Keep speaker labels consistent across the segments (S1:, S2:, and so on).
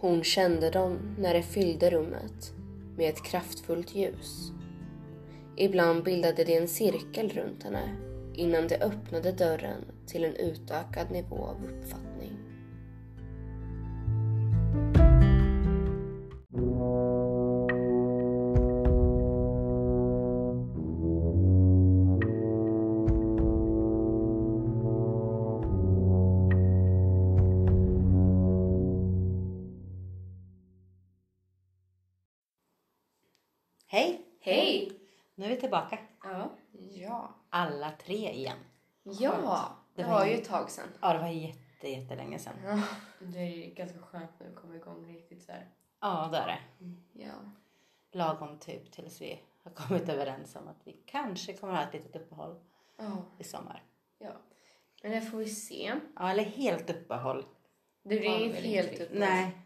S1: Hon kände dem när det fyllde rummet med ett kraftfullt ljus. Ibland bildade det en cirkel runt henne innan det öppnade dörren till en utökad nivå av uppfattning.
S2: Hej!
S1: Hej!
S2: Nu är vi tillbaka.
S1: Ja.
S3: Ja.
S2: Alla tre igen.
S1: Ja, det var ju ett tag sedan.
S2: Ja, det var jätte, jättelänge sedan.
S3: Det är ganska skönt nu att komma igång riktigt så här.
S2: Ja, det är det.
S1: Ja.
S2: Lagom typ tills vi har kommit överens om att vi kanske kommer att ha ett litet uppehåll
S3: Ja.
S2: i sommar.
S3: Ja.
S1: Men det får vi se.
S2: Ja, eller helt uppehåll.
S1: Det
S3: Ja,
S1: blir
S3: det
S1: inte
S3: är
S1: helt
S3: riktigt.
S1: upp.
S2: Nej,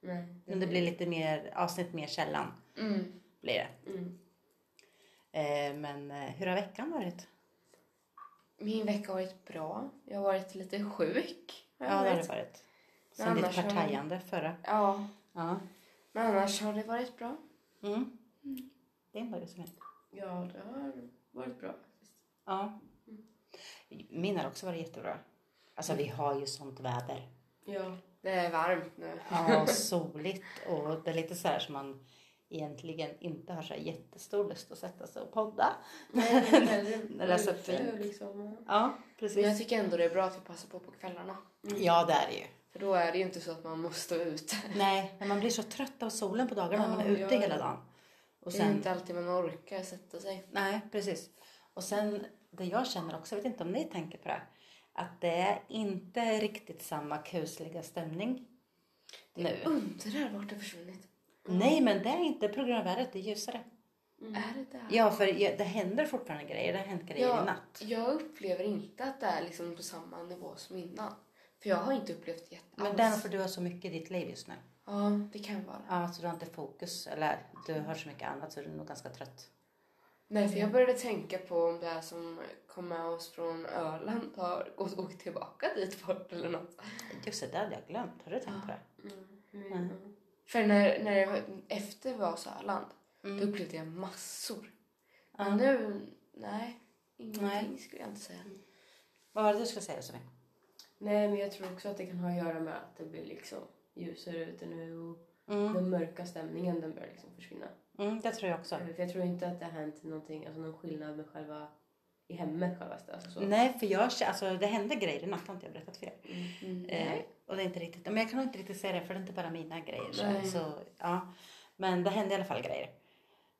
S3: Nej.
S2: men det blir lite mer avsnitt mer sällan.
S1: Mm.
S2: Blir det.
S3: Mm.
S2: Eh, Men eh, hur har veckan varit?
S1: Min vecka har varit bra. Jag har varit lite sjuk.
S2: Ja,
S1: har
S2: det
S1: jag
S2: har
S1: varit.
S2: det varit. Sen
S1: Men
S2: ditt
S1: annars har-
S2: partajande förra.
S1: Ja,
S2: Ja.
S1: men annars har det varit bra.
S2: Mm. Det är ändå det som är.
S3: Ja, det har varit bra. Mm.
S2: Ja. Min har också varit jättebra. Alltså vi har ju sånt väder.
S3: Ja.
S1: Det är varmt nu.
S2: Ja, och soligt och det är lite så här som man egentligen inte har så här jättestor lust att sätta sig och podda.
S3: Nej, men hellre
S2: Det där är så
S3: ute,
S2: fint.
S3: Liksom.
S2: Ja,
S1: Men Alltså, jag
S2: precis.
S1: tycker ändå det är bra att vi passar på på kvällarna.
S3: Mm.
S2: Ja, det är det ju.
S1: För då är det ju inte så att man måste ut.
S2: Nej, men man blir så trött av solen på dagarna när man är
S3: Ja,
S2: ute
S3: ja.
S2: hela dagen. Och
S1: Det är
S2: sen,
S1: inte alltid man orkar sätta sig.
S2: nej, precis. Och sen det jag känner också, jag vet inte om ni tänker på det, här, att det är inte riktigt samma kusliga stämning nu.
S1: Mm. Undrar vart det försvunnit.
S2: Nej, men det är inte på grund av vädret, det är ljusare.
S1: Är det där?
S2: Ja, för det händer fortfarande grejer. Det har hänt grejer i
S1: jag,
S2: natt.
S1: jag upplever inte att det är liksom på samma nivå som innan. För jag har inte upplevt det jätte-
S2: Men
S1: alls.
S2: därför du har så mycket i ditt liv just nu.
S1: Ja, det kan vara.
S2: Ja, så du har inte fokus eller du har så mycket annat så du är nog ganska trött.
S1: Nej, för jag började tänka på om det här som kom med oss från Öland har gått åkt tillbaka dit bort eller något.
S2: Just det, det hade jag glömt. Har du tänkt på det?
S3: Mm.
S1: För när, när det var, efter vi var hos Öland, då
S2: Mm.
S1: upplevde jag massor.
S2: Ja.
S1: Men nu, nej. Ingenting
S2: Nej.
S1: skulle jag inte säga.
S2: Vad var det du skulle säga Josefin?
S3: Nej, men jag tror också att det kan ha att göra med att det blir liksom ljusare ute nu och
S2: Mm.
S3: den mörka stämningen den börjar liksom försvinna.
S2: Mm, det tror jag också.
S3: För jag tror inte att det har hänt någonting, alltså någon skillnad med själva i hemmet själva stället. Alltså så.
S2: Nej, för jag kä- alltså, det hände grejer i natt har inte jag berättat för er. Eh,
S1: Mm, Nej.
S2: och det är inte riktigt, men jag kan nog inte riktigt säga det för det är inte bara mina grejer. Så,
S1: Nej.
S2: så, ja. Men det hände i alla fall grejer.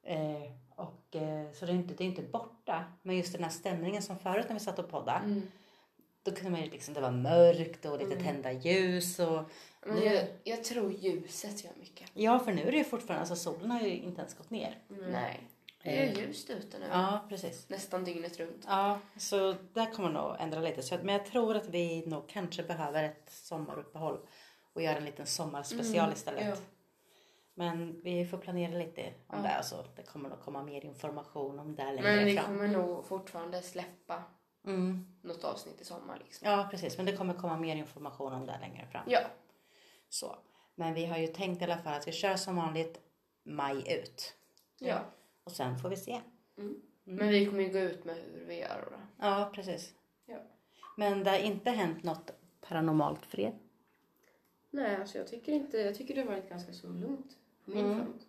S2: Eh, och, eh, så det är, inte, det är inte borta. Men just den här stämningen som förut när vi satt och poddade.
S1: Mm.
S2: Då kunde man ju liksom, det var mörkt och lite
S3: Mm.
S2: tända ljus och
S1: Men jag, jag tror ljuset gör mycket.
S2: ja, för nu är det ju fortfarande, alltså solen har ju inte ens gått ner.
S3: Mm.
S1: Nej. Det är
S2: Eh,
S1: ljust ute nu.
S2: Ja, precis.
S1: Nästan dygnet runt.
S2: Ja, så där kommer nog ändra lite. Så, att- men jag tror att vi nog kanske behöver ett sommaruppehåll och göra en liten sommarspecial
S1: Mm,
S2: istället.
S3: ja.
S2: Men vi får planera lite om
S1: Ja.
S2: det. Alltså, det kommer nog komma mer information om det längre
S1: Men vi
S2: fram.
S1: kommer nog fortfarande släppa
S2: Mm.
S1: något avsnitt i sommar. Liksom.
S2: Ja, precis. Men det kommer komma mer information om det längre fram.
S1: Ja.
S2: Så. Men vi har ju tänkt i alla fall att vi kör som vanligt maj ut.
S1: ja.
S2: Och sen får vi se.
S1: Men vi kommer ju gå ut med hur vi gör. och det.
S2: Ja, precis.
S3: Ja.
S2: Men det har inte hänt något paranormalt för er?
S3: Nej, alltså jag tycker inte, jag tycker det har varit ganska så lugnt på min
S2: Mm.
S3: front.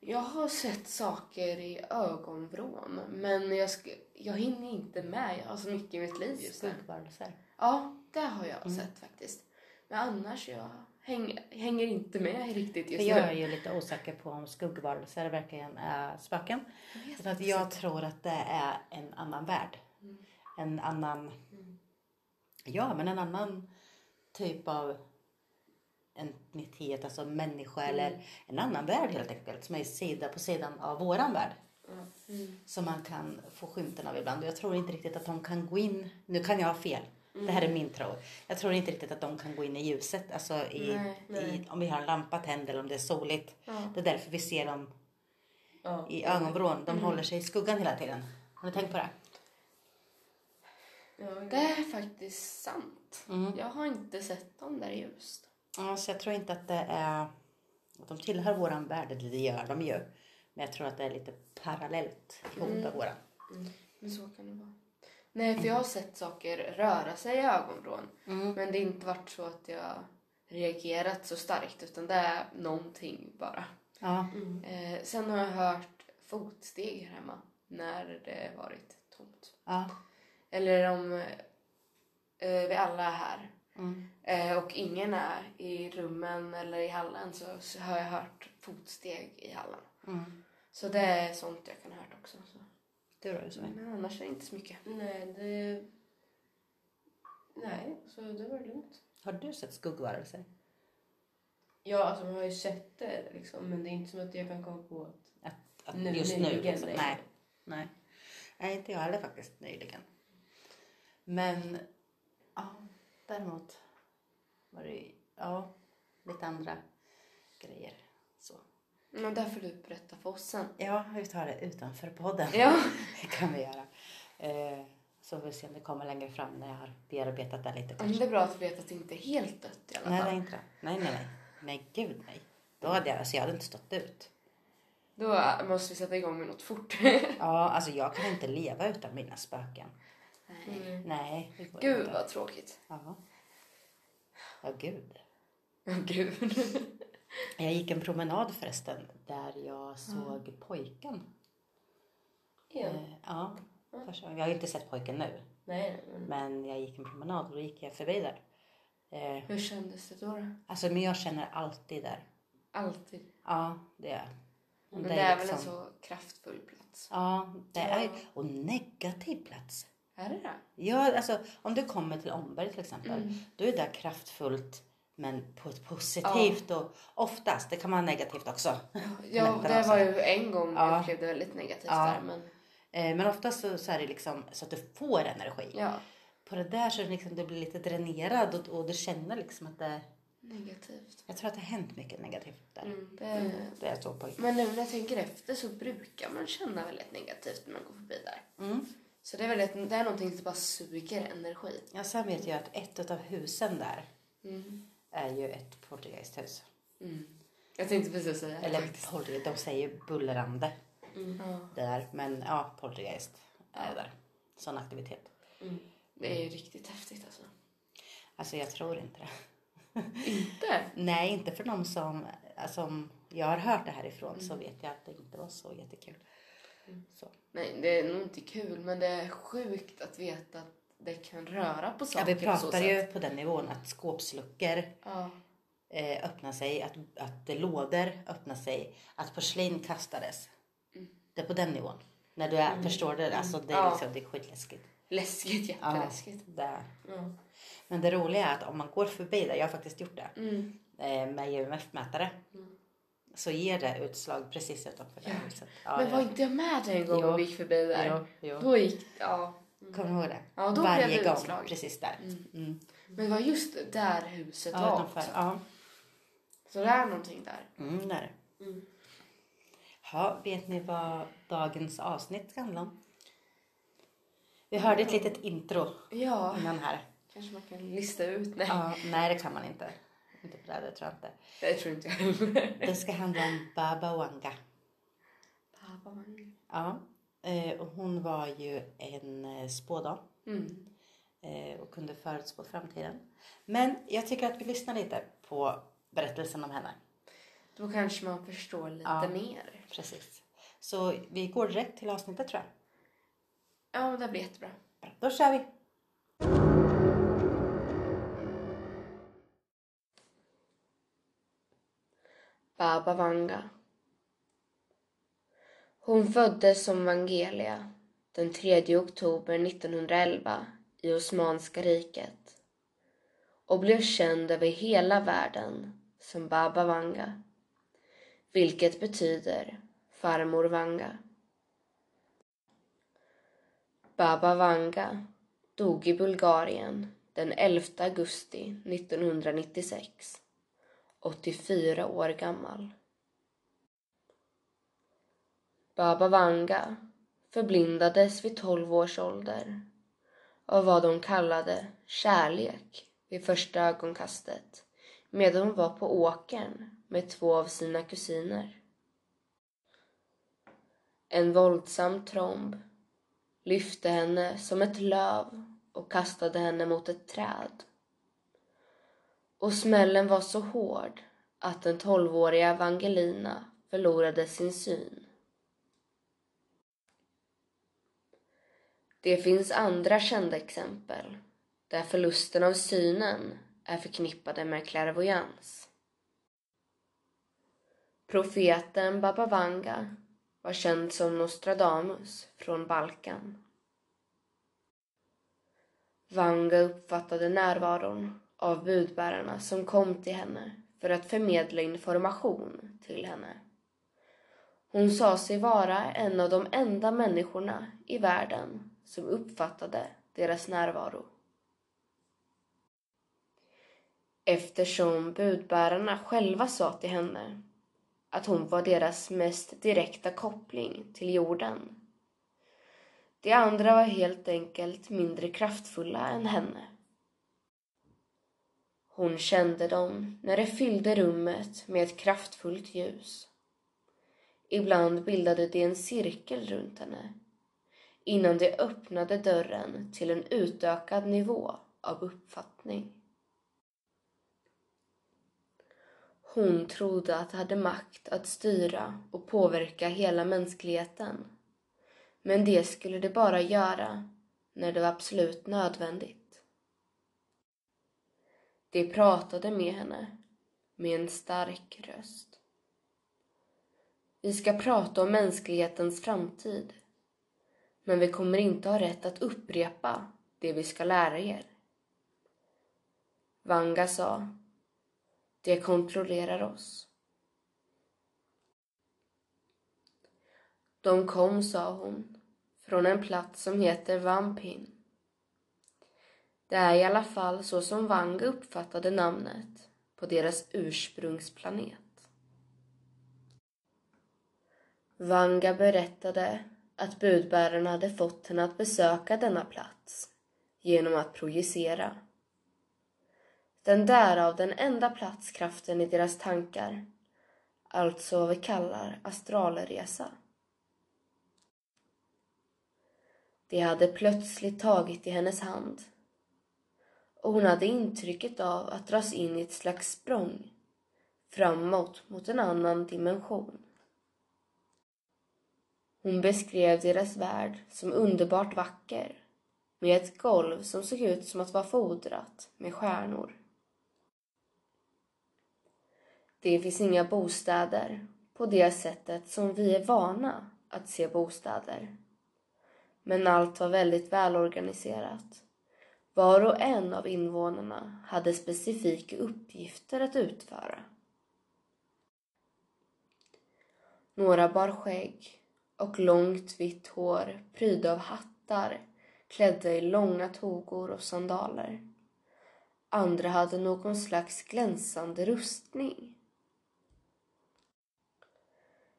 S1: Jag har sett saker i ögonvrån men jag, sk- jag hinner inte med. Jag har så mycket i mitt liv just nu.
S2: Skuggvarelser?
S1: Ja, det har jag
S2: Mm.
S1: sett faktiskt. Men annars, jag häng, hänger inte med riktigt
S2: För
S1: just
S2: jag är
S1: nu.
S2: ju lite osäker på om skuggvarelser verkligen är spöken. För att jag tror att det är en annan värld.
S1: Mm.
S2: En annan... Ja, men en annan typ av entitet, alltså människa
S1: Mm.
S2: eller en annan värld helt enkelt som är sida på sidan av våran värld.
S1: Mm.
S2: Som man kan få skymten av ibland. Och jag tror inte riktigt att de kan gå in, nu kan jag ha fel, det
S1: Mm.
S2: här är min tro. Jag tror inte riktigt att de kan gå in i ljuset, alltså i,
S1: Nej,
S2: I, om vi har en lampa tänd eller om det är soligt.
S1: Ja.
S2: Det är därför vi ser dem
S3: Ja.
S2: i ögonvrån.
S1: Mm.
S2: De håller sig i skuggan hela tiden. Har ni tänkt på det?
S3: Ja,
S1: Det är faktiskt sant.
S2: Mm.
S1: Jag har inte sett dem där ljust.
S2: Ja, så jag tror inte att det är... Att de tillhör våran värld, eller det gör de ju. Men jag tror att det är lite parallellt ihop med våran.
S1: Men så kan det vara. Nej, för jag har sett saker röra sig i ögonvrån.
S3: Mm.
S1: Men det har inte varit så att jag reagerat så starkt utan det är någonting bara.
S2: Ja.
S3: Mm.
S1: Eh, sen har jag hört fotsteg här hemma när det varit tomt.
S2: ja.
S1: Eller om eh, vi alla är här
S2: Mm.
S1: eh, och ingen är i rummen eller i hallen så, så har jag hört fotsteg i hallen.
S2: Mm.
S1: Så det är sånt jag kan ha hört också. Så.
S2: Du då Josefin?
S1: Men annars är det inte så mycket.
S3: Nej, det... Nej, så det var lugnt.
S2: Har du sett skuggvarelser?
S3: Ja, alltså man har ju sett det liksom, men det är inte som att jag kan komma på att
S2: Att
S3: Nu-
S2: just nu?
S3: nyligen,
S2: Liksom.
S3: nej.
S2: Nej. nej. Nej, inte jag heller faktiskt nyligen. Men ja, däremot var det ju- ja, lite andra grejer. Så.
S1: Men där får du berätta för oss sen.
S2: Ja, vi tar det utanför podden.
S1: Ja.
S2: Det kan vi göra. Eh, så får vi se om det kommer längre fram när jag har bearbetat det lite.
S1: Ja, Men
S2: Kanske.
S1: det är bra att veta att det inte är helt dött i alla
S2: Nej,
S1: fall.
S2: det är inte det. Nej, nej, nej. Nej, gud nej. Då hade jag, alltså jag hade inte stått ut.
S1: Då måste vi sätta igång med något fort.
S2: Ja, alltså jag kan inte leva utan mina spöken. Nej, det går
S1: Mm. Gud
S2: inte.
S1: vad tråkigt.
S2: Ja. ja, gud.
S1: Ja, Gud.
S2: Jag gick en promenad förresten där jag såg pojken.
S3: igen.
S2: Eh, Ja, första gången. Jag har ju inte sett pojken nu,
S3: Nej, men...
S2: men jag gick en promenad och då gick jag förbi där. Eh,
S1: Hur kändes det då? då?
S2: Alltså, men jag känner alltid där.
S1: Alltid.
S2: Ja, det gör jag. Och
S1: Men det är väl
S2: liksom-
S1: en så kraftfull plats?
S2: Ja, det är ju... Och negativ plats.
S1: Är det det?
S2: Ja, alltså om du kommer till Omberg till exempel,
S1: Mm.
S2: då är det kraftfullt men på ett positivt och oftast, det kan vara negativt också.
S1: Ja,
S2: Lättare
S1: det
S2: att
S1: var
S2: säga.
S1: ju en gång
S2: alltså- Ja.
S1: jag upplevde väldigt negativt
S2: Ja.
S1: där. Men
S2: Eh, Men oftast så, så är det liksom så att du får energi.
S1: ja,
S2: På det där så är det liksom, du blir lite dränerad och, och du känner liksom att det,
S1: negativt.
S2: jag tror att det har hänt mycket negativt där.
S1: Det...
S2: Det jag såg på.
S1: Men nu när jag tänker efter så brukar man känna väldigt negativt när man går förbi där.
S2: Mm.
S1: Så det är, väldigt, det är någonting som bara suger energi.
S2: Ja, sen vet jag att ett av husen där
S1: Mm.
S2: är ju ett portugisiskt hus.
S1: Jag tänkte precis säga det.
S2: Eller portugis, de säger ju bullrande.
S1: Ja,
S2: det där. Men ja, poltergeist är där. Sån aktivitet.
S1: det är ju riktigt häftigt alltså.
S2: Alltså jag tror inte det.
S1: Inte?
S2: Nej, inte för någon som, alltså, om jag har hört det härifrån
S1: Mm.
S2: så vet jag att det inte var så jättekul. Så.
S1: Nej, det är nog inte kul men det är sjukt att veta att det kan röra på
S2: Ja,
S1: saker
S2: vi
S1: på
S2: pratar
S1: så
S2: ju
S1: sätt.
S2: på den nivån att skåpsluckor
S1: Ja.
S2: eh, öppnar sig, att, att lådor öppnar sig, att porslin kastades. Det är på den nivån. När du är, förstår det, alltså det är,
S1: Mm. Ja.
S2: liksom, det är skitläskigt.
S1: Läskigt, jätteläskigt.
S2: Det.
S3: Ja.
S2: Men det roliga är att om man går förbi där, jag har faktiskt gjort det,
S1: Mm.
S2: eh, med EMF-mätare så ger det utslag precis utanför det
S1: Ja.
S2: huset. Ja,
S1: men
S2: ja.
S1: var inte jag med den gången
S2: Jo.
S1: vi gick förbi där?
S2: Jo, jo.
S1: Då gick ja.
S2: Kommer du ihåg det?
S1: Ja, då blev
S2: Varje
S1: det
S2: gång,
S1: utslag.
S2: precis där. Mm.
S1: Men det var just där huset
S2: Ja,
S1: var
S2: utanför.
S1: också.
S2: Ja.
S1: Så det är någonting där.
S2: Mm, där. Ja, vet ni vad dagens avsnitt ska handla om? Vi hörde ett litet intro
S1: Ja,
S2: innan här.
S1: kanske man kan lista ut. Nej,
S2: Ja, nej, det kan man inte. Inte på det, här, det tror jag inte.
S1: det tror inte jag heller.
S2: Det ska handla om Baba Wanga.
S1: Pappa var-
S2: Ja, eh, och hon var ju en eh, spådam.
S1: Mm.
S2: eh, och kunde förutspå framtiden. Men jag tycker att vi lyssnar lite på berättelsen om henne.
S1: Då kanske man förstår lite
S2: Ja.
S1: mer.
S2: Precis. Så vi går direkt till avsnittet tror jag.
S1: Ja, men det blir jättebra.
S2: Bra, Då kör vi!
S1: Baba Vanga. Hon föddes som Vangelia den 3 oktober 1911 i Osmanska riket och blev känd över hela världen som Baba Vanga, vilket betyder farmor Vanga. Baba Vanga dog i Bulgarien den 11 augusti 1996 84 år gammal. Baba Vanga förblindades vid 12 års ålder av vad de kallade kärlek vid första ögonkastet medan hon var på åkern med två av sina kusiner. En våldsam tromb lyfte henne som ett löv och kastade henne mot ett träd. Och smällen var så hård att den tolvåriga Evangelina förlorade sin syn. Det finns andra kända exempel där förlusten av synen är förknippade med klärvoyans. Profeten Baba Vanga var känd som Nostradamus från Balkan. Vanga uppfattade närvaron av budbärarna som kom till henne för att förmedla information till henne. Hon sa sig vara en av de enda människorna i världen som uppfattade deras närvaro. Eftersom budbärarna själva sa till henne att hon var deras mest direkta koppling till jorden. De andra var helt enkelt mindre kraftfulla än henne. Hon kände dem när det fyllde rummet med ett kraftfullt ljus. Ibland bildade de en cirkel runt henne innan de öppnade dörren till en utökad nivå av uppfattning. Hon trodde att de hade makt att styra och påverka hela mänskligheten. Men det skulle de bara göra när det var absolut nödvändigt. De pratade med henne med en stark röst. Vi ska prata om mänsklighetens framtid. Men vi kommer inte ha rätt att upprepa det vi ska lära er. Vanga sa det kontrollerar oss. De kom, sa hon, från en plats som heter Vampin. Det är i alla fall så som Vanga uppfattade namnet på deras ursprungsplanet. Vanga berättade att budbäraren hade fått henne att besöka denna plats genom att projicera den därav den enda platskraften i deras tankar, alltså vad vi kallar astralresa. Det hade plötsligt tagit i hennes hand och hon hade intrycket av att dras in i ett slags språng framåt mot en annan dimension. Hon beskrev deras värld som underbart vacker med ett golv som såg ut som att vara fodrat med stjärnor. Det finns inga bostäder på det sättet som vi är vana att se bostäder. Men allt var väldigt välorganiserat. Var och en av invånarna hade specifika uppgifter att utföra. Några bar skägg och långt vitt hår prydda av hattar klädda i långa togor och sandaler. Andra hade någon slags glänsande rustning.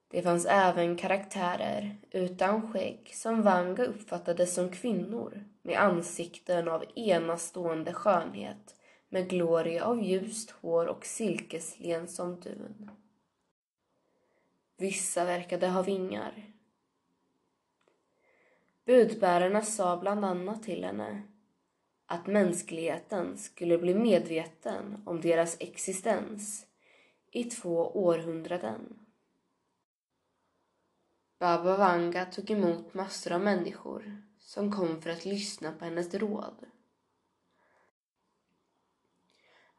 S1: Det fanns även karaktärer utan skägg som Vanga uppfattade som kvinnor med ansikten av enastående skönhet med gloria av ljust hår och silkeslen som dun. Vissa verkade ha vingar. Budbärarna sa bland annat till henne att mänskligheten skulle bli medveten om deras existens i två århundraden. Baba Vanga tog emot massor av människor som kom för att lyssna på hennes råd.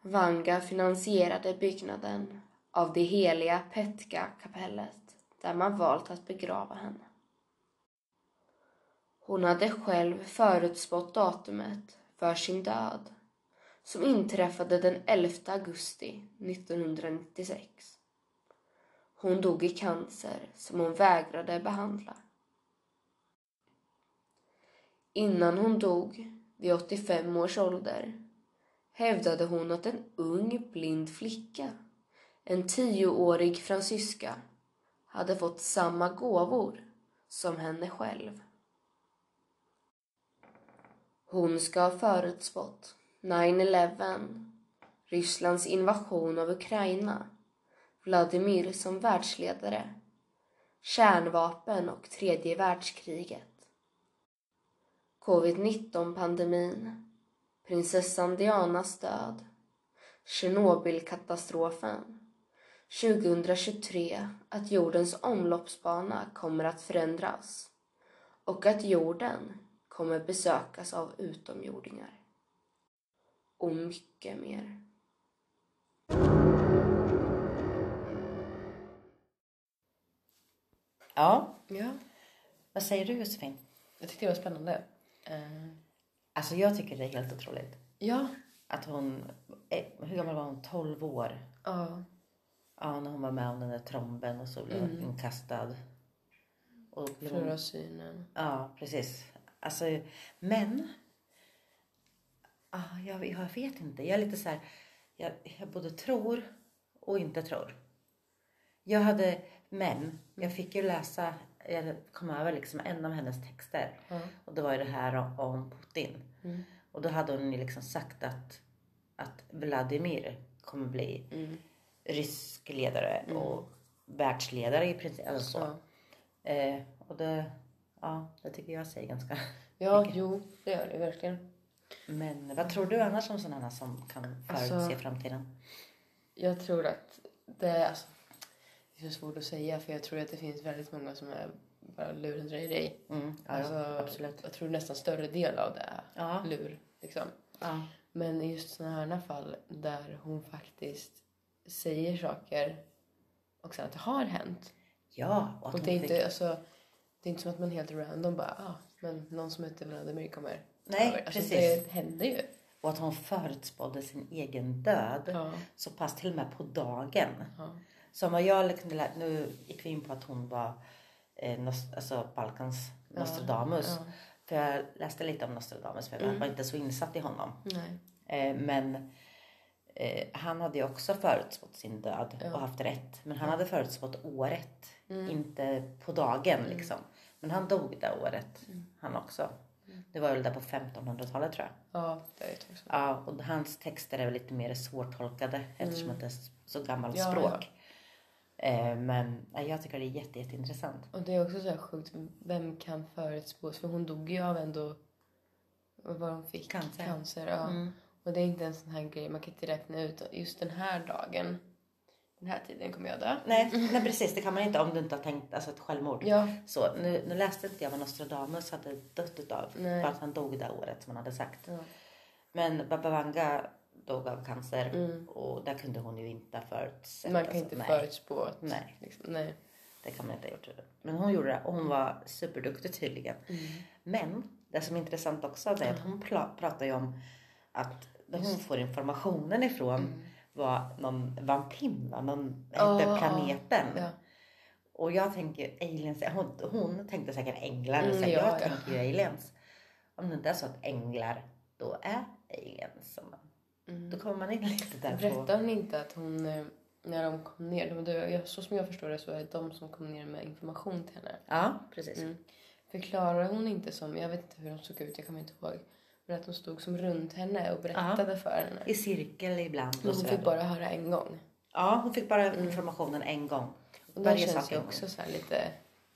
S1: Vanga finansierade byggnaden av det heliga Petka-kapellet där man valt att begrava henne. Hon hade själv förutspått datumet för sin död som inträffade den 11 augusti 1996. Hon dog i cancer som hon vägrade behandla. Innan hon dog, vid 85 års ålder, hävdade hon att en ung blind flicka, en tioårig fransyska, hade fått samma gåvor som henne själv. Hon ska ha förutspått 9-11, Rysslands invasion av Ukraina, Vladimir som världsledare, kärnvapen och tredje världskriget. Covid-19-pandemin, prinsessan Dianas död, Tjernobylkatastrofen, 2023 att jordens omloppsbana kommer att förändras och att jorden kommer besökas av utomjordingar. Och mycket mer.
S2: Ja,
S3: Ja.
S2: vad säger du Josefin?
S3: Jag tyckte det var spännande. Eh,
S2: Alltså jag tycker det är helt otroligt.
S3: ja.
S2: Att hon, eh, hur gammal var hon? 12 år?
S3: Ja.
S2: Ja, när hon var med om den där tromben och så blev
S3: Mm.
S2: hon kastad. Och blev hon,
S3: Förlora synen.
S2: ja, precis. Alltså, men... Ah, jag, jag vet inte. Jag är lite så här... Jag, jag både tror och inte tror. Jag hade... Men jag fick ju läsa... Jag kom över liksom en av hennes texter.
S3: Ja.
S2: Och det var ju det här om- om Putin.
S3: Mm.
S2: Och då hade hon ju liksom sagt att, att Vladimir kommer bli
S3: Mm.
S2: rysk ledare och världsledare i princip. Alltså så.
S3: Ja.
S2: Eh, och det, ja, det tycker jag säger ganska.
S3: ja, jo, det gör det verkligen.
S2: Men vad tror du annars om sådana som kan förutse
S3: Alltså-
S2: framtiden?
S3: Jag tror att det, alltså, det är så svårt att säga för jag tror att det finns väldigt många som är bara lurendrejeri.
S2: Mm, ja,
S3: Alltså,
S2: ja, absolut.
S3: Jag tror nästan större del av det är
S2: Ja,
S3: lur. Liksom.
S2: ja,
S3: Men i just sådana här fall där hon faktiskt säger saker och sen att det har hänt.
S2: ja. Och att
S3: Och
S2: hon
S3: det är,
S2: fick-
S3: inte, alltså, det är inte som att man helt random bara, ah, men någon som heter Vladimir kommer.
S2: Nej,
S3: över." alltså,
S2: precis.
S3: Det händer ju.
S2: Och att hon förutspådde sin egen död
S3: Ja,
S2: så pass till och med på dagen.
S3: ja,
S2: Som vad jag liksom lä- nu gick vi in på att hon var eh, Nost- alltså Balkans
S3: Ja,
S2: Nostradamus.
S3: ja.
S2: För jag läste lite om Nostradamus men jag
S3: Mm.
S2: var inte så insatt i honom.
S3: Nej.
S2: Eh,
S3: Mm.
S2: men eh, han hade ju också förutspått sin död
S3: Ja.
S2: och haft rätt. Men han hade förutspått året,
S3: Mm.
S2: inte på dagen liksom. Men han dog det året,
S3: Mm.
S2: han också. Det var väl där på 1500-talet tror jag.
S3: Ja, det är ju ett tag sedan.
S2: Ja, och hans texter är väl lite mer svårtolkade eftersom att det är så gammalt
S3: Ja,
S2: språk. Eh, Men nej, jag tycker det är jätte, jätteintressant.
S3: Och det är också så här sjukt, vem kan förutspås? För hon dog ju av ändå vad hon fick.
S2: Cancer.
S3: ja.
S2: Mm.
S3: Och det är inte en sån här grej, man kan inte räkna ut just den här dagen, den här tiden kommer jag dö.
S2: Nej, nej, precis. Det kan man inte om du inte har tänkt alltså ett självmord.
S3: Ja,
S2: Så, nu, nu läste inte jag vad Nostradamus hade dött utav.
S3: Nej.
S2: För att han dog det året som han hade sagt.
S3: Ja.
S2: Men Baba Vanga dog av cancer.
S3: Mm.
S2: Och där kunde hon ju inte ha förutsett.
S3: man kan
S2: alltså,
S3: inte
S2: nej,
S3: förutspå. Att,
S2: Nej.
S3: Liksom, nej.
S2: Det kan man inte ha gjort. Men hon gjorde det och hon var superduktig tydligen.
S3: Mm.
S2: Men det som är intressant också det är att hon pla- pratar ju om att där hon får informationen ifrån
S3: Mm.
S2: var någon vampin, va? någon
S3: Ja,
S2: hette
S3: ja,
S2: planeten.
S3: ja.
S2: Och jag tänker aliens, hon, hon tänkte säkert änglar,
S3: Mm,
S2: så här,
S3: ja,
S2: jag
S3: ja.
S2: tänker ju aliens. Om det inte är så att änglar då är aliens, så man,
S3: Mm.
S2: då kommer man in lite där på...
S3: Berättade hon inte att hon, eh, när de kom ner, de, det- jag- så som jag förstår det så är det de som kom ner med information till henne.
S2: Ja, precis.
S3: Mm. Förklarar hon inte som, jag vet inte hur de såg ut, jag kommer inte ihåg. Men att de stod som runt henne och berättade för henne.
S2: I cirkel ibland.
S3: Men
S2: Och
S3: hon
S2: så
S3: fick bara höra en gång.
S2: Ja, hon fick bara informationen en gång.
S3: Mm. Och det
S2: Varje
S3: känns
S2: sak
S3: ju
S2: en gång.
S3: också så här lite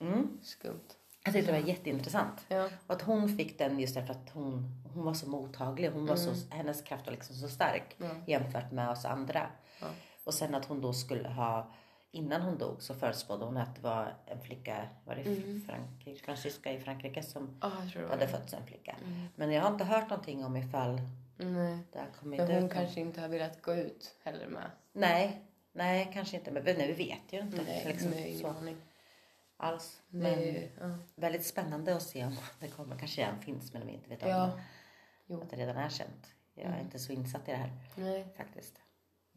S2: Mm.
S3: skumt.
S2: Jag tyckte det var jätteintressant.
S3: Ja.
S2: Och att hon fick den just därför att hon, hon var så mottaglig. Hon var så, hennes kraft var liksom så stark
S3: Mm. Ja.
S2: jämfört med oss andra.
S3: Ja.
S2: Och sen att hon då skulle ha, innan hon dog så förutspådde hon att det var en flicka, var det Frankrike, fransyska i Frankrike som
S3: Mm. Ja, Mm. jag tror det var
S2: hade
S3: det.
S2: fötts en flicka. Men jag har inte hört någonting om ifall
S3: Nej.
S2: det har kommit
S3: Men hon
S2: ut.
S3: kanske inte har velat gå ut heller med.
S2: Nej, nej kanske inte. Men vi- nej, vi vet ju inte liksom,
S3: med ingen
S2: så
S3: aning.
S2: alls.
S3: Det är
S2: Men
S3: ju- ja.
S2: väldigt spännande att se om det kommer. Kanske redan finns men om vi inte vet om
S3: Ja.
S2: det.
S3: Jo.
S2: att det redan är känt. Jag är inte så insatt i det här
S3: Nej.
S2: faktiskt.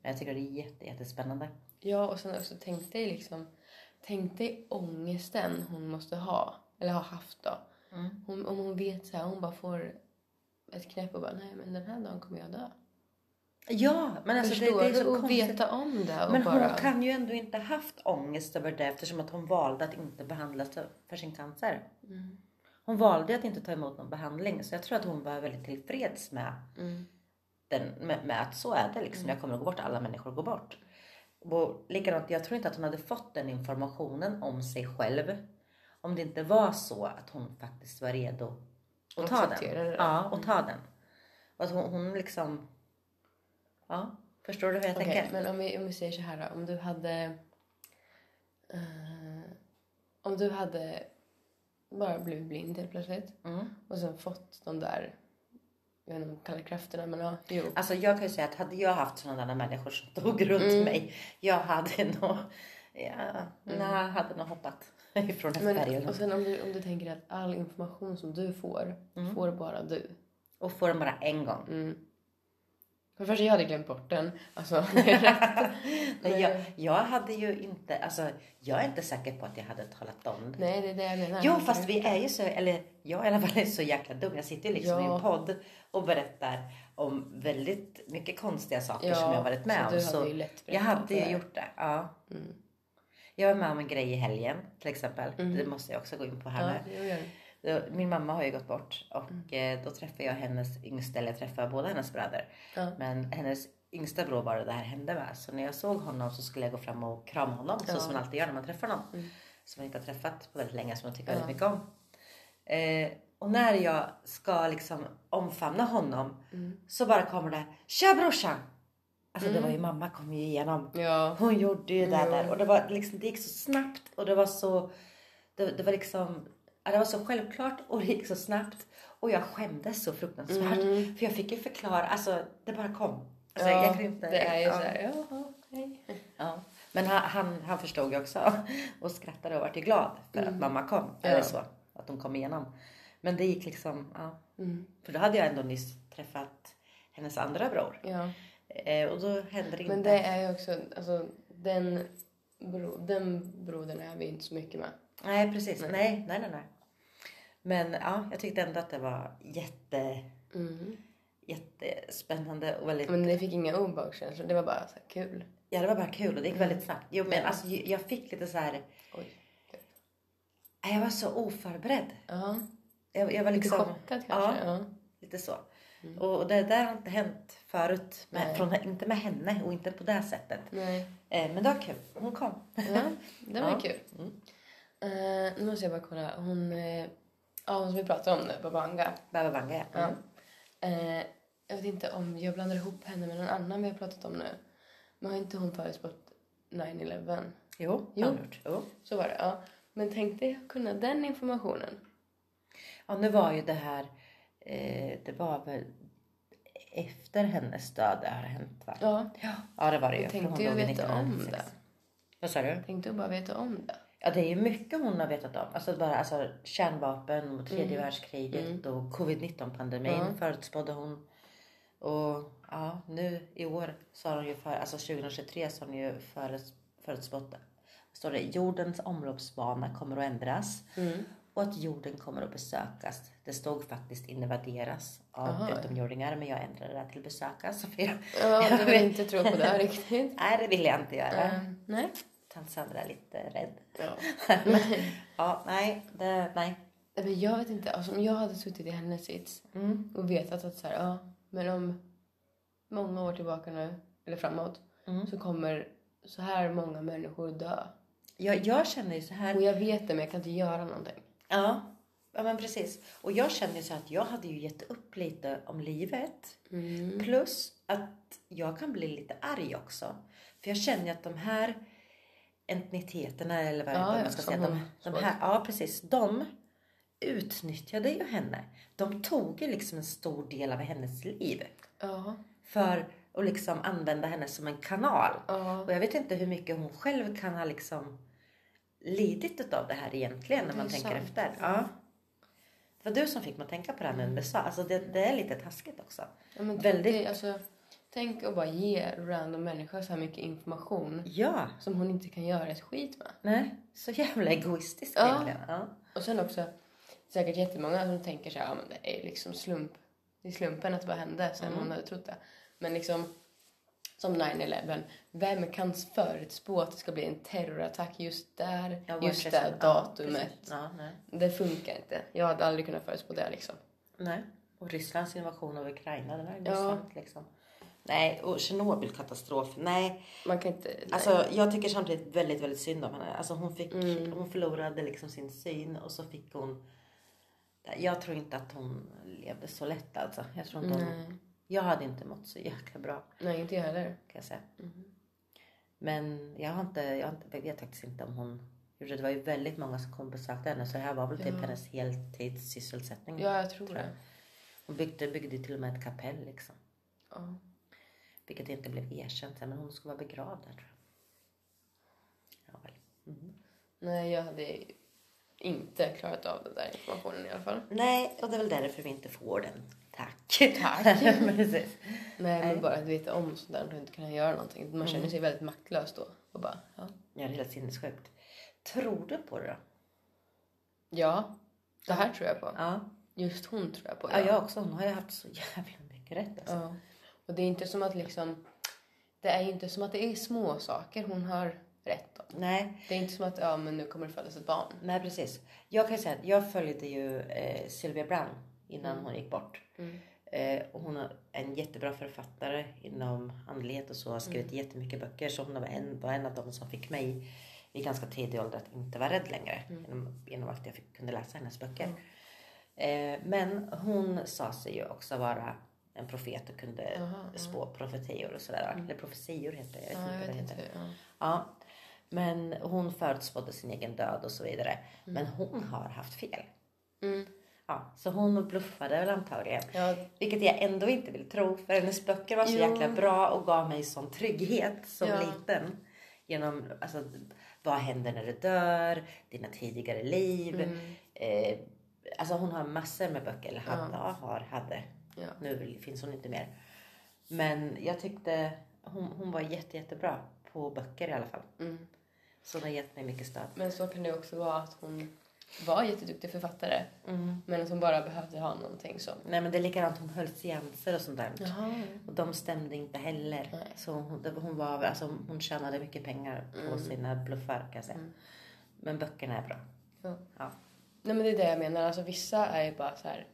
S2: Men jag tycker det är jätte, jättespännande.
S3: Ja, och sen också tänk dig liksom. Tänk dig ångesten hon måste ha. Eller har haft då.
S2: Mm.
S3: Hon, om hon vet så här, hon bara får ett knäpp och bara nej men den här dagen kommer jag dö.
S2: Ja, men alltså det,
S3: Förstår
S2: det är
S3: du?
S2: så
S3: Och
S2: konstigt.
S3: veta om det och
S2: men
S3: bara.
S2: hon kan ju ändå inte haft ångest över det eftersom att hon valde att inte behandlas för sin cancer.
S3: Mm.
S2: Hon valde att inte ta emot någon behandling så jag tror att hon var väldigt tillfreds med
S3: Mm.
S2: den, med, med att så är det liksom. Jag kommer att gå bort, alla människor går bort. Och likadant, jag tror inte att hon hade fått den informationen om sig själv om det inte var så att hon faktiskt var redo att ta
S3: Acceptera
S2: den.
S3: det. Mm.
S2: Ja, och ta den. Och att hon, hon liksom... Ja, förstår du hur jag
S3: Okej,
S2: tänker?
S3: men om vi, om vi säger så här då. Om du hade... eh, om du hade bara blivit blind helt plötsligt
S2: Mm.
S3: och sen fått de där, jag vet inte om de kallar krafterna men ja, jo.
S2: Alltså jag kan ju säga att hade jag haft sådana där människor som tog runt
S3: Mm.
S2: mig, jag hade nog, ja, nej, hade nog hoppat ifrån den
S3: Men,
S2: färjan.
S3: och sen om du, om du tänker att all information som du får,
S2: Mm.
S3: får bara du.
S2: Och får den bara en gång.
S3: Mm. För det första, jag hade glömt bort den. Alltså,
S2: Men jag, jag hade ju inte, alltså jag är inte säker på att jag hade talat om det.
S3: nej, det är det jag menar.
S2: Jo, fast vi är ju så, eller jag i alla fall är så jäkla dum. Jag sitter ju liksom i
S3: Ja.
S2: en podd och berättar om väldigt mycket konstiga saker
S3: Ja,
S2: som jag varit med
S3: så
S2: om.
S3: du hade ju lätt
S2: jag
S3: berättat
S2: hade ju
S3: det. Mm.
S2: gjort det, ja. Jag var med om en grej i helgen till exempel. Det måste jag också gå in på här
S3: Ja, Mm.
S2: nu.
S3: jo, gör det.
S2: Då- Min mamma har ju gått bort och eh, då träffade jag hennes yngsta, eller jag träffade båda hennes bröder.
S3: Ja.
S2: Men hennes yngsta bror var det det här hände med. Så när jag såg honom så skulle jag gå fram och krama honom så som man alltid gör när man träffar någon.
S3: Mm.
S2: Som man inte har träffat på väldigt länge, som man tycker väldigt mycket om. Eh, och när jag ska liksom omfamna honom
S3: Mm.
S2: så bara kommer det Tja brorsan! Alltså det var
S3: Mm.
S2: ju mamma kom ju igenom.
S3: Ja.
S2: Hon gjorde ju det där och det, var liksom, det gick så snabbt och det var så det, det var liksom ja, det var så självklart och det gick så snabbt och jag skämdes så fruktansvärt för jag fick ju förklara, alltså det bara kom. Alltså,
S3: Mm. ja,
S2: jag kunde inte,
S3: det är ju
S2: ja.
S3: så här, ja, okej.
S2: Ja. Men han, han, han förstod ju också och skrattade och vart ju glad för
S3: Mm.
S2: att mamma kom. Eller så, att hon kom igenom. Men det gick liksom, ja.
S3: Mm.
S2: För då hade jag ändå nyss träffat hennes andra bror.
S3: Ja.
S2: Eh, och då hände det inte.
S3: Men det är ju också, alltså den, bro, den brodern är vi inte så mycket med.
S2: Nej, precis. Nej. nej, nej, nej, Men ja, jag tyckte ändå att det var jätte,
S3: Mm.
S2: jättespännande och väldigt...
S3: Men ni fick inga obehagskänslor, det var bara så här kul.
S2: Ja, det var bara kul och det gick väldigt snabbt. Jo, men alltså ju- jag fick lite så här...
S3: Mm. Oj.
S2: Nej, Jag var så oförberedd.
S3: Ja,
S2: Jag, jag var
S3: lite
S2: liksom...
S3: chockad kanske. Ja.
S2: lite så. Och, och det där har inte hänt förut. Med,
S3: Mm. Nej.
S2: från, inte med henne och inte på det sättet.
S3: Nej.
S2: Eh, men det var kul. Hon kom.
S3: Ja, det var
S2: Ja. Mm.
S3: kul. Eh, nu måste jag bara kolla, hon, eh, ja, hon som vi pratade om nu, Babanga.
S2: Baba Vanga, ja.
S3: Ja. Eh, jag vet inte om jag blandar ihop henne med någon annan vi har pratat om nu. Men har inte hon förutspått 9-11?
S2: Jo,
S3: Jo.
S2: har hon gjort. Jo.
S3: Så var det, ja. Men tänk dig att kunna den informationen.
S2: Ja, nu var ju det här... Eh, det var väl efter hennes död det har hänt va?
S3: Ja.
S2: Ja, det var det ju.
S3: Jag
S2: för
S3: tänkte
S2: hon
S3: ju
S2: dog i
S3: veta om
S2: 1996.
S3: det.
S2: Vad sa du?
S3: Tänkte att bara veta om det.
S2: Ja, det är ju mycket hon har vetat om. Alltså, bara, alltså kärnvapen och tredje världskriget och covid-19 pandemin förutspådde hon. Och ja, nu i år så har hon ju för, alltså 2023 så har hon ju föruts- förutspått står det, jordens omloppsbana kommer att ändras och att jorden kommer att besökas. Det stod faktiskt invaderas av utomjordingar men jag ändrade det till besökas. Så jag,
S3: Ja, du
S2: jag
S3: vill
S2: vet-
S3: inte tro på det riktigt.
S2: Nej, det vill jag inte göra.
S3: Eh, nej.
S2: Tant Sandra är lite rädd.
S3: Ja.
S2: Men, ja, nej, det, nej.
S3: Men jag vet inte, alltså, om jag hade suttit i hennes sits
S2: Mm.
S3: och vetat att så här, ja, men om många år tillbaka nu, eller framåt,
S2: Mm.
S3: så kommer så här många människor dö.
S2: Jag, jag känner ju så här.
S3: Och jag vet det, men jag kan inte göra någonting.
S2: Ja, ja men precis. Och jag känner ju så att jag hade ju gett upp lite om livet.
S3: Mm.
S2: Plus att jag kan bli lite arg också. För jag känner ju att de här entiteterna eller vad
S3: Ja,
S2: vad
S3: ja,
S2: man ska
S3: som
S2: säga. De,
S3: hon-
S2: de här, ja, precis. De utnyttjade ju henne. De tog ju liksom en stor del av hennes liv.
S3: Ja.
S2: för att liksom använda henne som en kanal.
S3: Ja.
S2: Och jag vet inte hur mycket hon själv kan ha liksom lidit av det här egentligen när man
S3: är
S2: tänker
S3: sant.
S2: efter. Ja. Det var du som fick mig att tänka på det här med USA. Alltså det, det är lite taskigt också.
S3: ja men
S2: Väldigt.
S3: Det, alltså, tänk att bara ge random människor så här mycket information
S2: Ja,
S3: som hon inte kan göra ett skit med.
S2: nej. Så jävla egoistiskt
S3: Ja.
S2: egentligen. Ja.
S3: Och sen också säkert jättemånga som tänker så här, ja men det är liksom slump. Det är slumpen att det bara hände sen
S2: Mm.
S3: hon hade trott det. Men liksom som 9-11, vem kan förutspå att det ska bli en terrorattack just där,
S2: Jag var
S3: just
S2: precis-
S3: det
S2: ja,
S3: datumet?
S2: precis. Ja, nej.
S3: det funkar inte. Jag hade aldrig kunnat förutspå det liksom.
S2: nej. Och Rysslands invasion av Ukraina, den är intressant liksom. Nej, och Tjernobylkatastrof. Nej,
S3: Man kan inte... nej.
S2: alltså jag tycker samtidigt väldigt, väldigt synd om henne. Alltså hon fick, hon förlorade liksom sin syn och så fick hon. Jag tror inte att hon levde så lätt alltså. Jag tror inte hon, Jag hade inte mått så jäkla bra
S3: nej, inte jag heller.
S2: kan jag säga. Men jag har inte, jag, har inte, jag vet faktiskt inte om hon gjorde det. var ju väldigt många som kom och besökte henne så det här var väl typ hennes heltidssysselsättning.
S3: Ja, jag tror det.
S2: Hon byggde, byggde till och med ett kapell liksom.
S3: Ja.
S2: Vilket inte blev erkänt sen, men hon skulle vara begravd där tror jag. Ja, väl.
S3: Nej, jag hade inte klarat av den där informationen i alla fall.
S2: Nej, och det är väl därför vi inte får den. Tack.
S3: Tack.
S2: Precis.
S3: Nej, Mm. men bara att veta om sånt där och inte kunna göra någonting. Man känner sig väldigt maktlös då. Och bara, ja.
S2: Ja, det är helt sinnessjukt. Tror du på det då?
S3: ja, det här tror jag på.
S2: Ja.
S3: Just hon tror jag på.
S2: ja, jag också. Hon har ju haft så jävla mycket rätt alltså.
S3: Ja. Och det är inte som att liksom... Det är ju inte som att det är små saker hon har rätt om.
S2: Nej,
S3: Det är inte som att ja, men nu kommer det födas ett barn.
S2: Nej precis. Jag kan ju säga att jag följde ju eh, Sylvia Brand innan
S3: Mm.
S2: hon gick bort. Eh, och hon är en jättebra författare inom andlighet och så. Har skrivit
S3: Mm.
S2: jättemycket böcker. Så hon var en, var en av dem som fick mig i ganska tidig ålder att inte vara rädd längre.
S3: Mm.
S2: Genom, genom att jag fick, kunde läsa hennes böcker. Eh, men hon sa sig ju också vara en profet och kunde spå profetior och sådär. Eller profetior heter det. Jag vet inte vad
S3: Mm. Ja, jag
S2: det
S3: vet
S2: heter.
S3: inte. Ja.
S2: Ja. Men hon förutspådde sin egen död och så vidare. Men hon har haft fel. Ja, så hon bluffade väl antagligen.
S3: Ja.
S2: Vilket jag ändå inte vill tro för hennes böcker var så
S3: Ja.
S2: jäkla bra och gav mig sån trygghet som
S3: Ja.
S2: liten. Genom alltså, vad händer när du dör, dina tidigare liv.
S3: Mm.
S2: Eh, alltså hon har massor med böcker, eller hade, har, hade.
S3: Ja.
S2: Nu finns hon inte mer. Men jag tyckte hon, hon var jätte, jättebra på böcker i alla fall. Så hon har gett mig mycket stöd.
S3: mm. Men så kan det också vara att hon var jätteduktig författare. Men att hon bara behövde ha någonting som...
S2: Nej men det är likadant, hon höll seanser och sånt där.
S3: Jaha.
S2: Och de stämde inte heller.
S3: Nej.
S2: Så hon, det- hon, var, alltså, hon tjänade mycket pengar på
S3: Mm.
S2: sina bluffar kan jag säga. Men böckerna är bra.
S3: Ja.
S2: Ja.
S3: Nej men det är det jag menar. Alltså vissa är ju bara så här.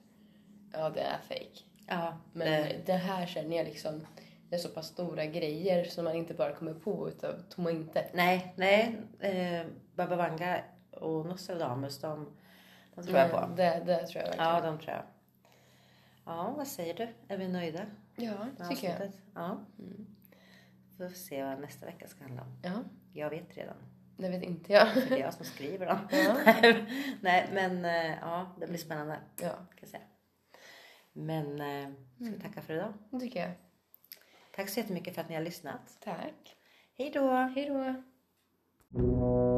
S3: Ja det är fake.
S2: ja
S3: Men
S2: det-
S3: det här känner jag liksom. Det är så pass stora grejer som man inte bara kommer på utav tomma intet.
S2: Nej, nej. Eh, Baba Vanga och Nostradamus, de, de tror jag på.
S3: Nej, Det, det tror jag
S2: Ja,
S3: verkligen.
S2: de tror jag. Ja, vad säger du? Är vi nöjda?
S3: Ja,
S2: med
S3: tycker jag. Mm.
S2: avsnittet? Ja. Vi får se vad nästa vecka ska handla om.
S3: Ja,
S2: Jag vet redan.
S3: det vet inte jag.
S2: Det är jag som skriver dem.
S3: Ja.
S2: Nej, men eh, ja, det blir
S3: Mm.
S2: spännande.
S3: Ja,
S2: Kan jag säga. Men eh, ska vi tacka för idag?
S3: det tycker jag.
S2: Tack så jättemycket för att ni har lyssnat.
S3: Tack.
S2: Hej då!
S3: Hej då.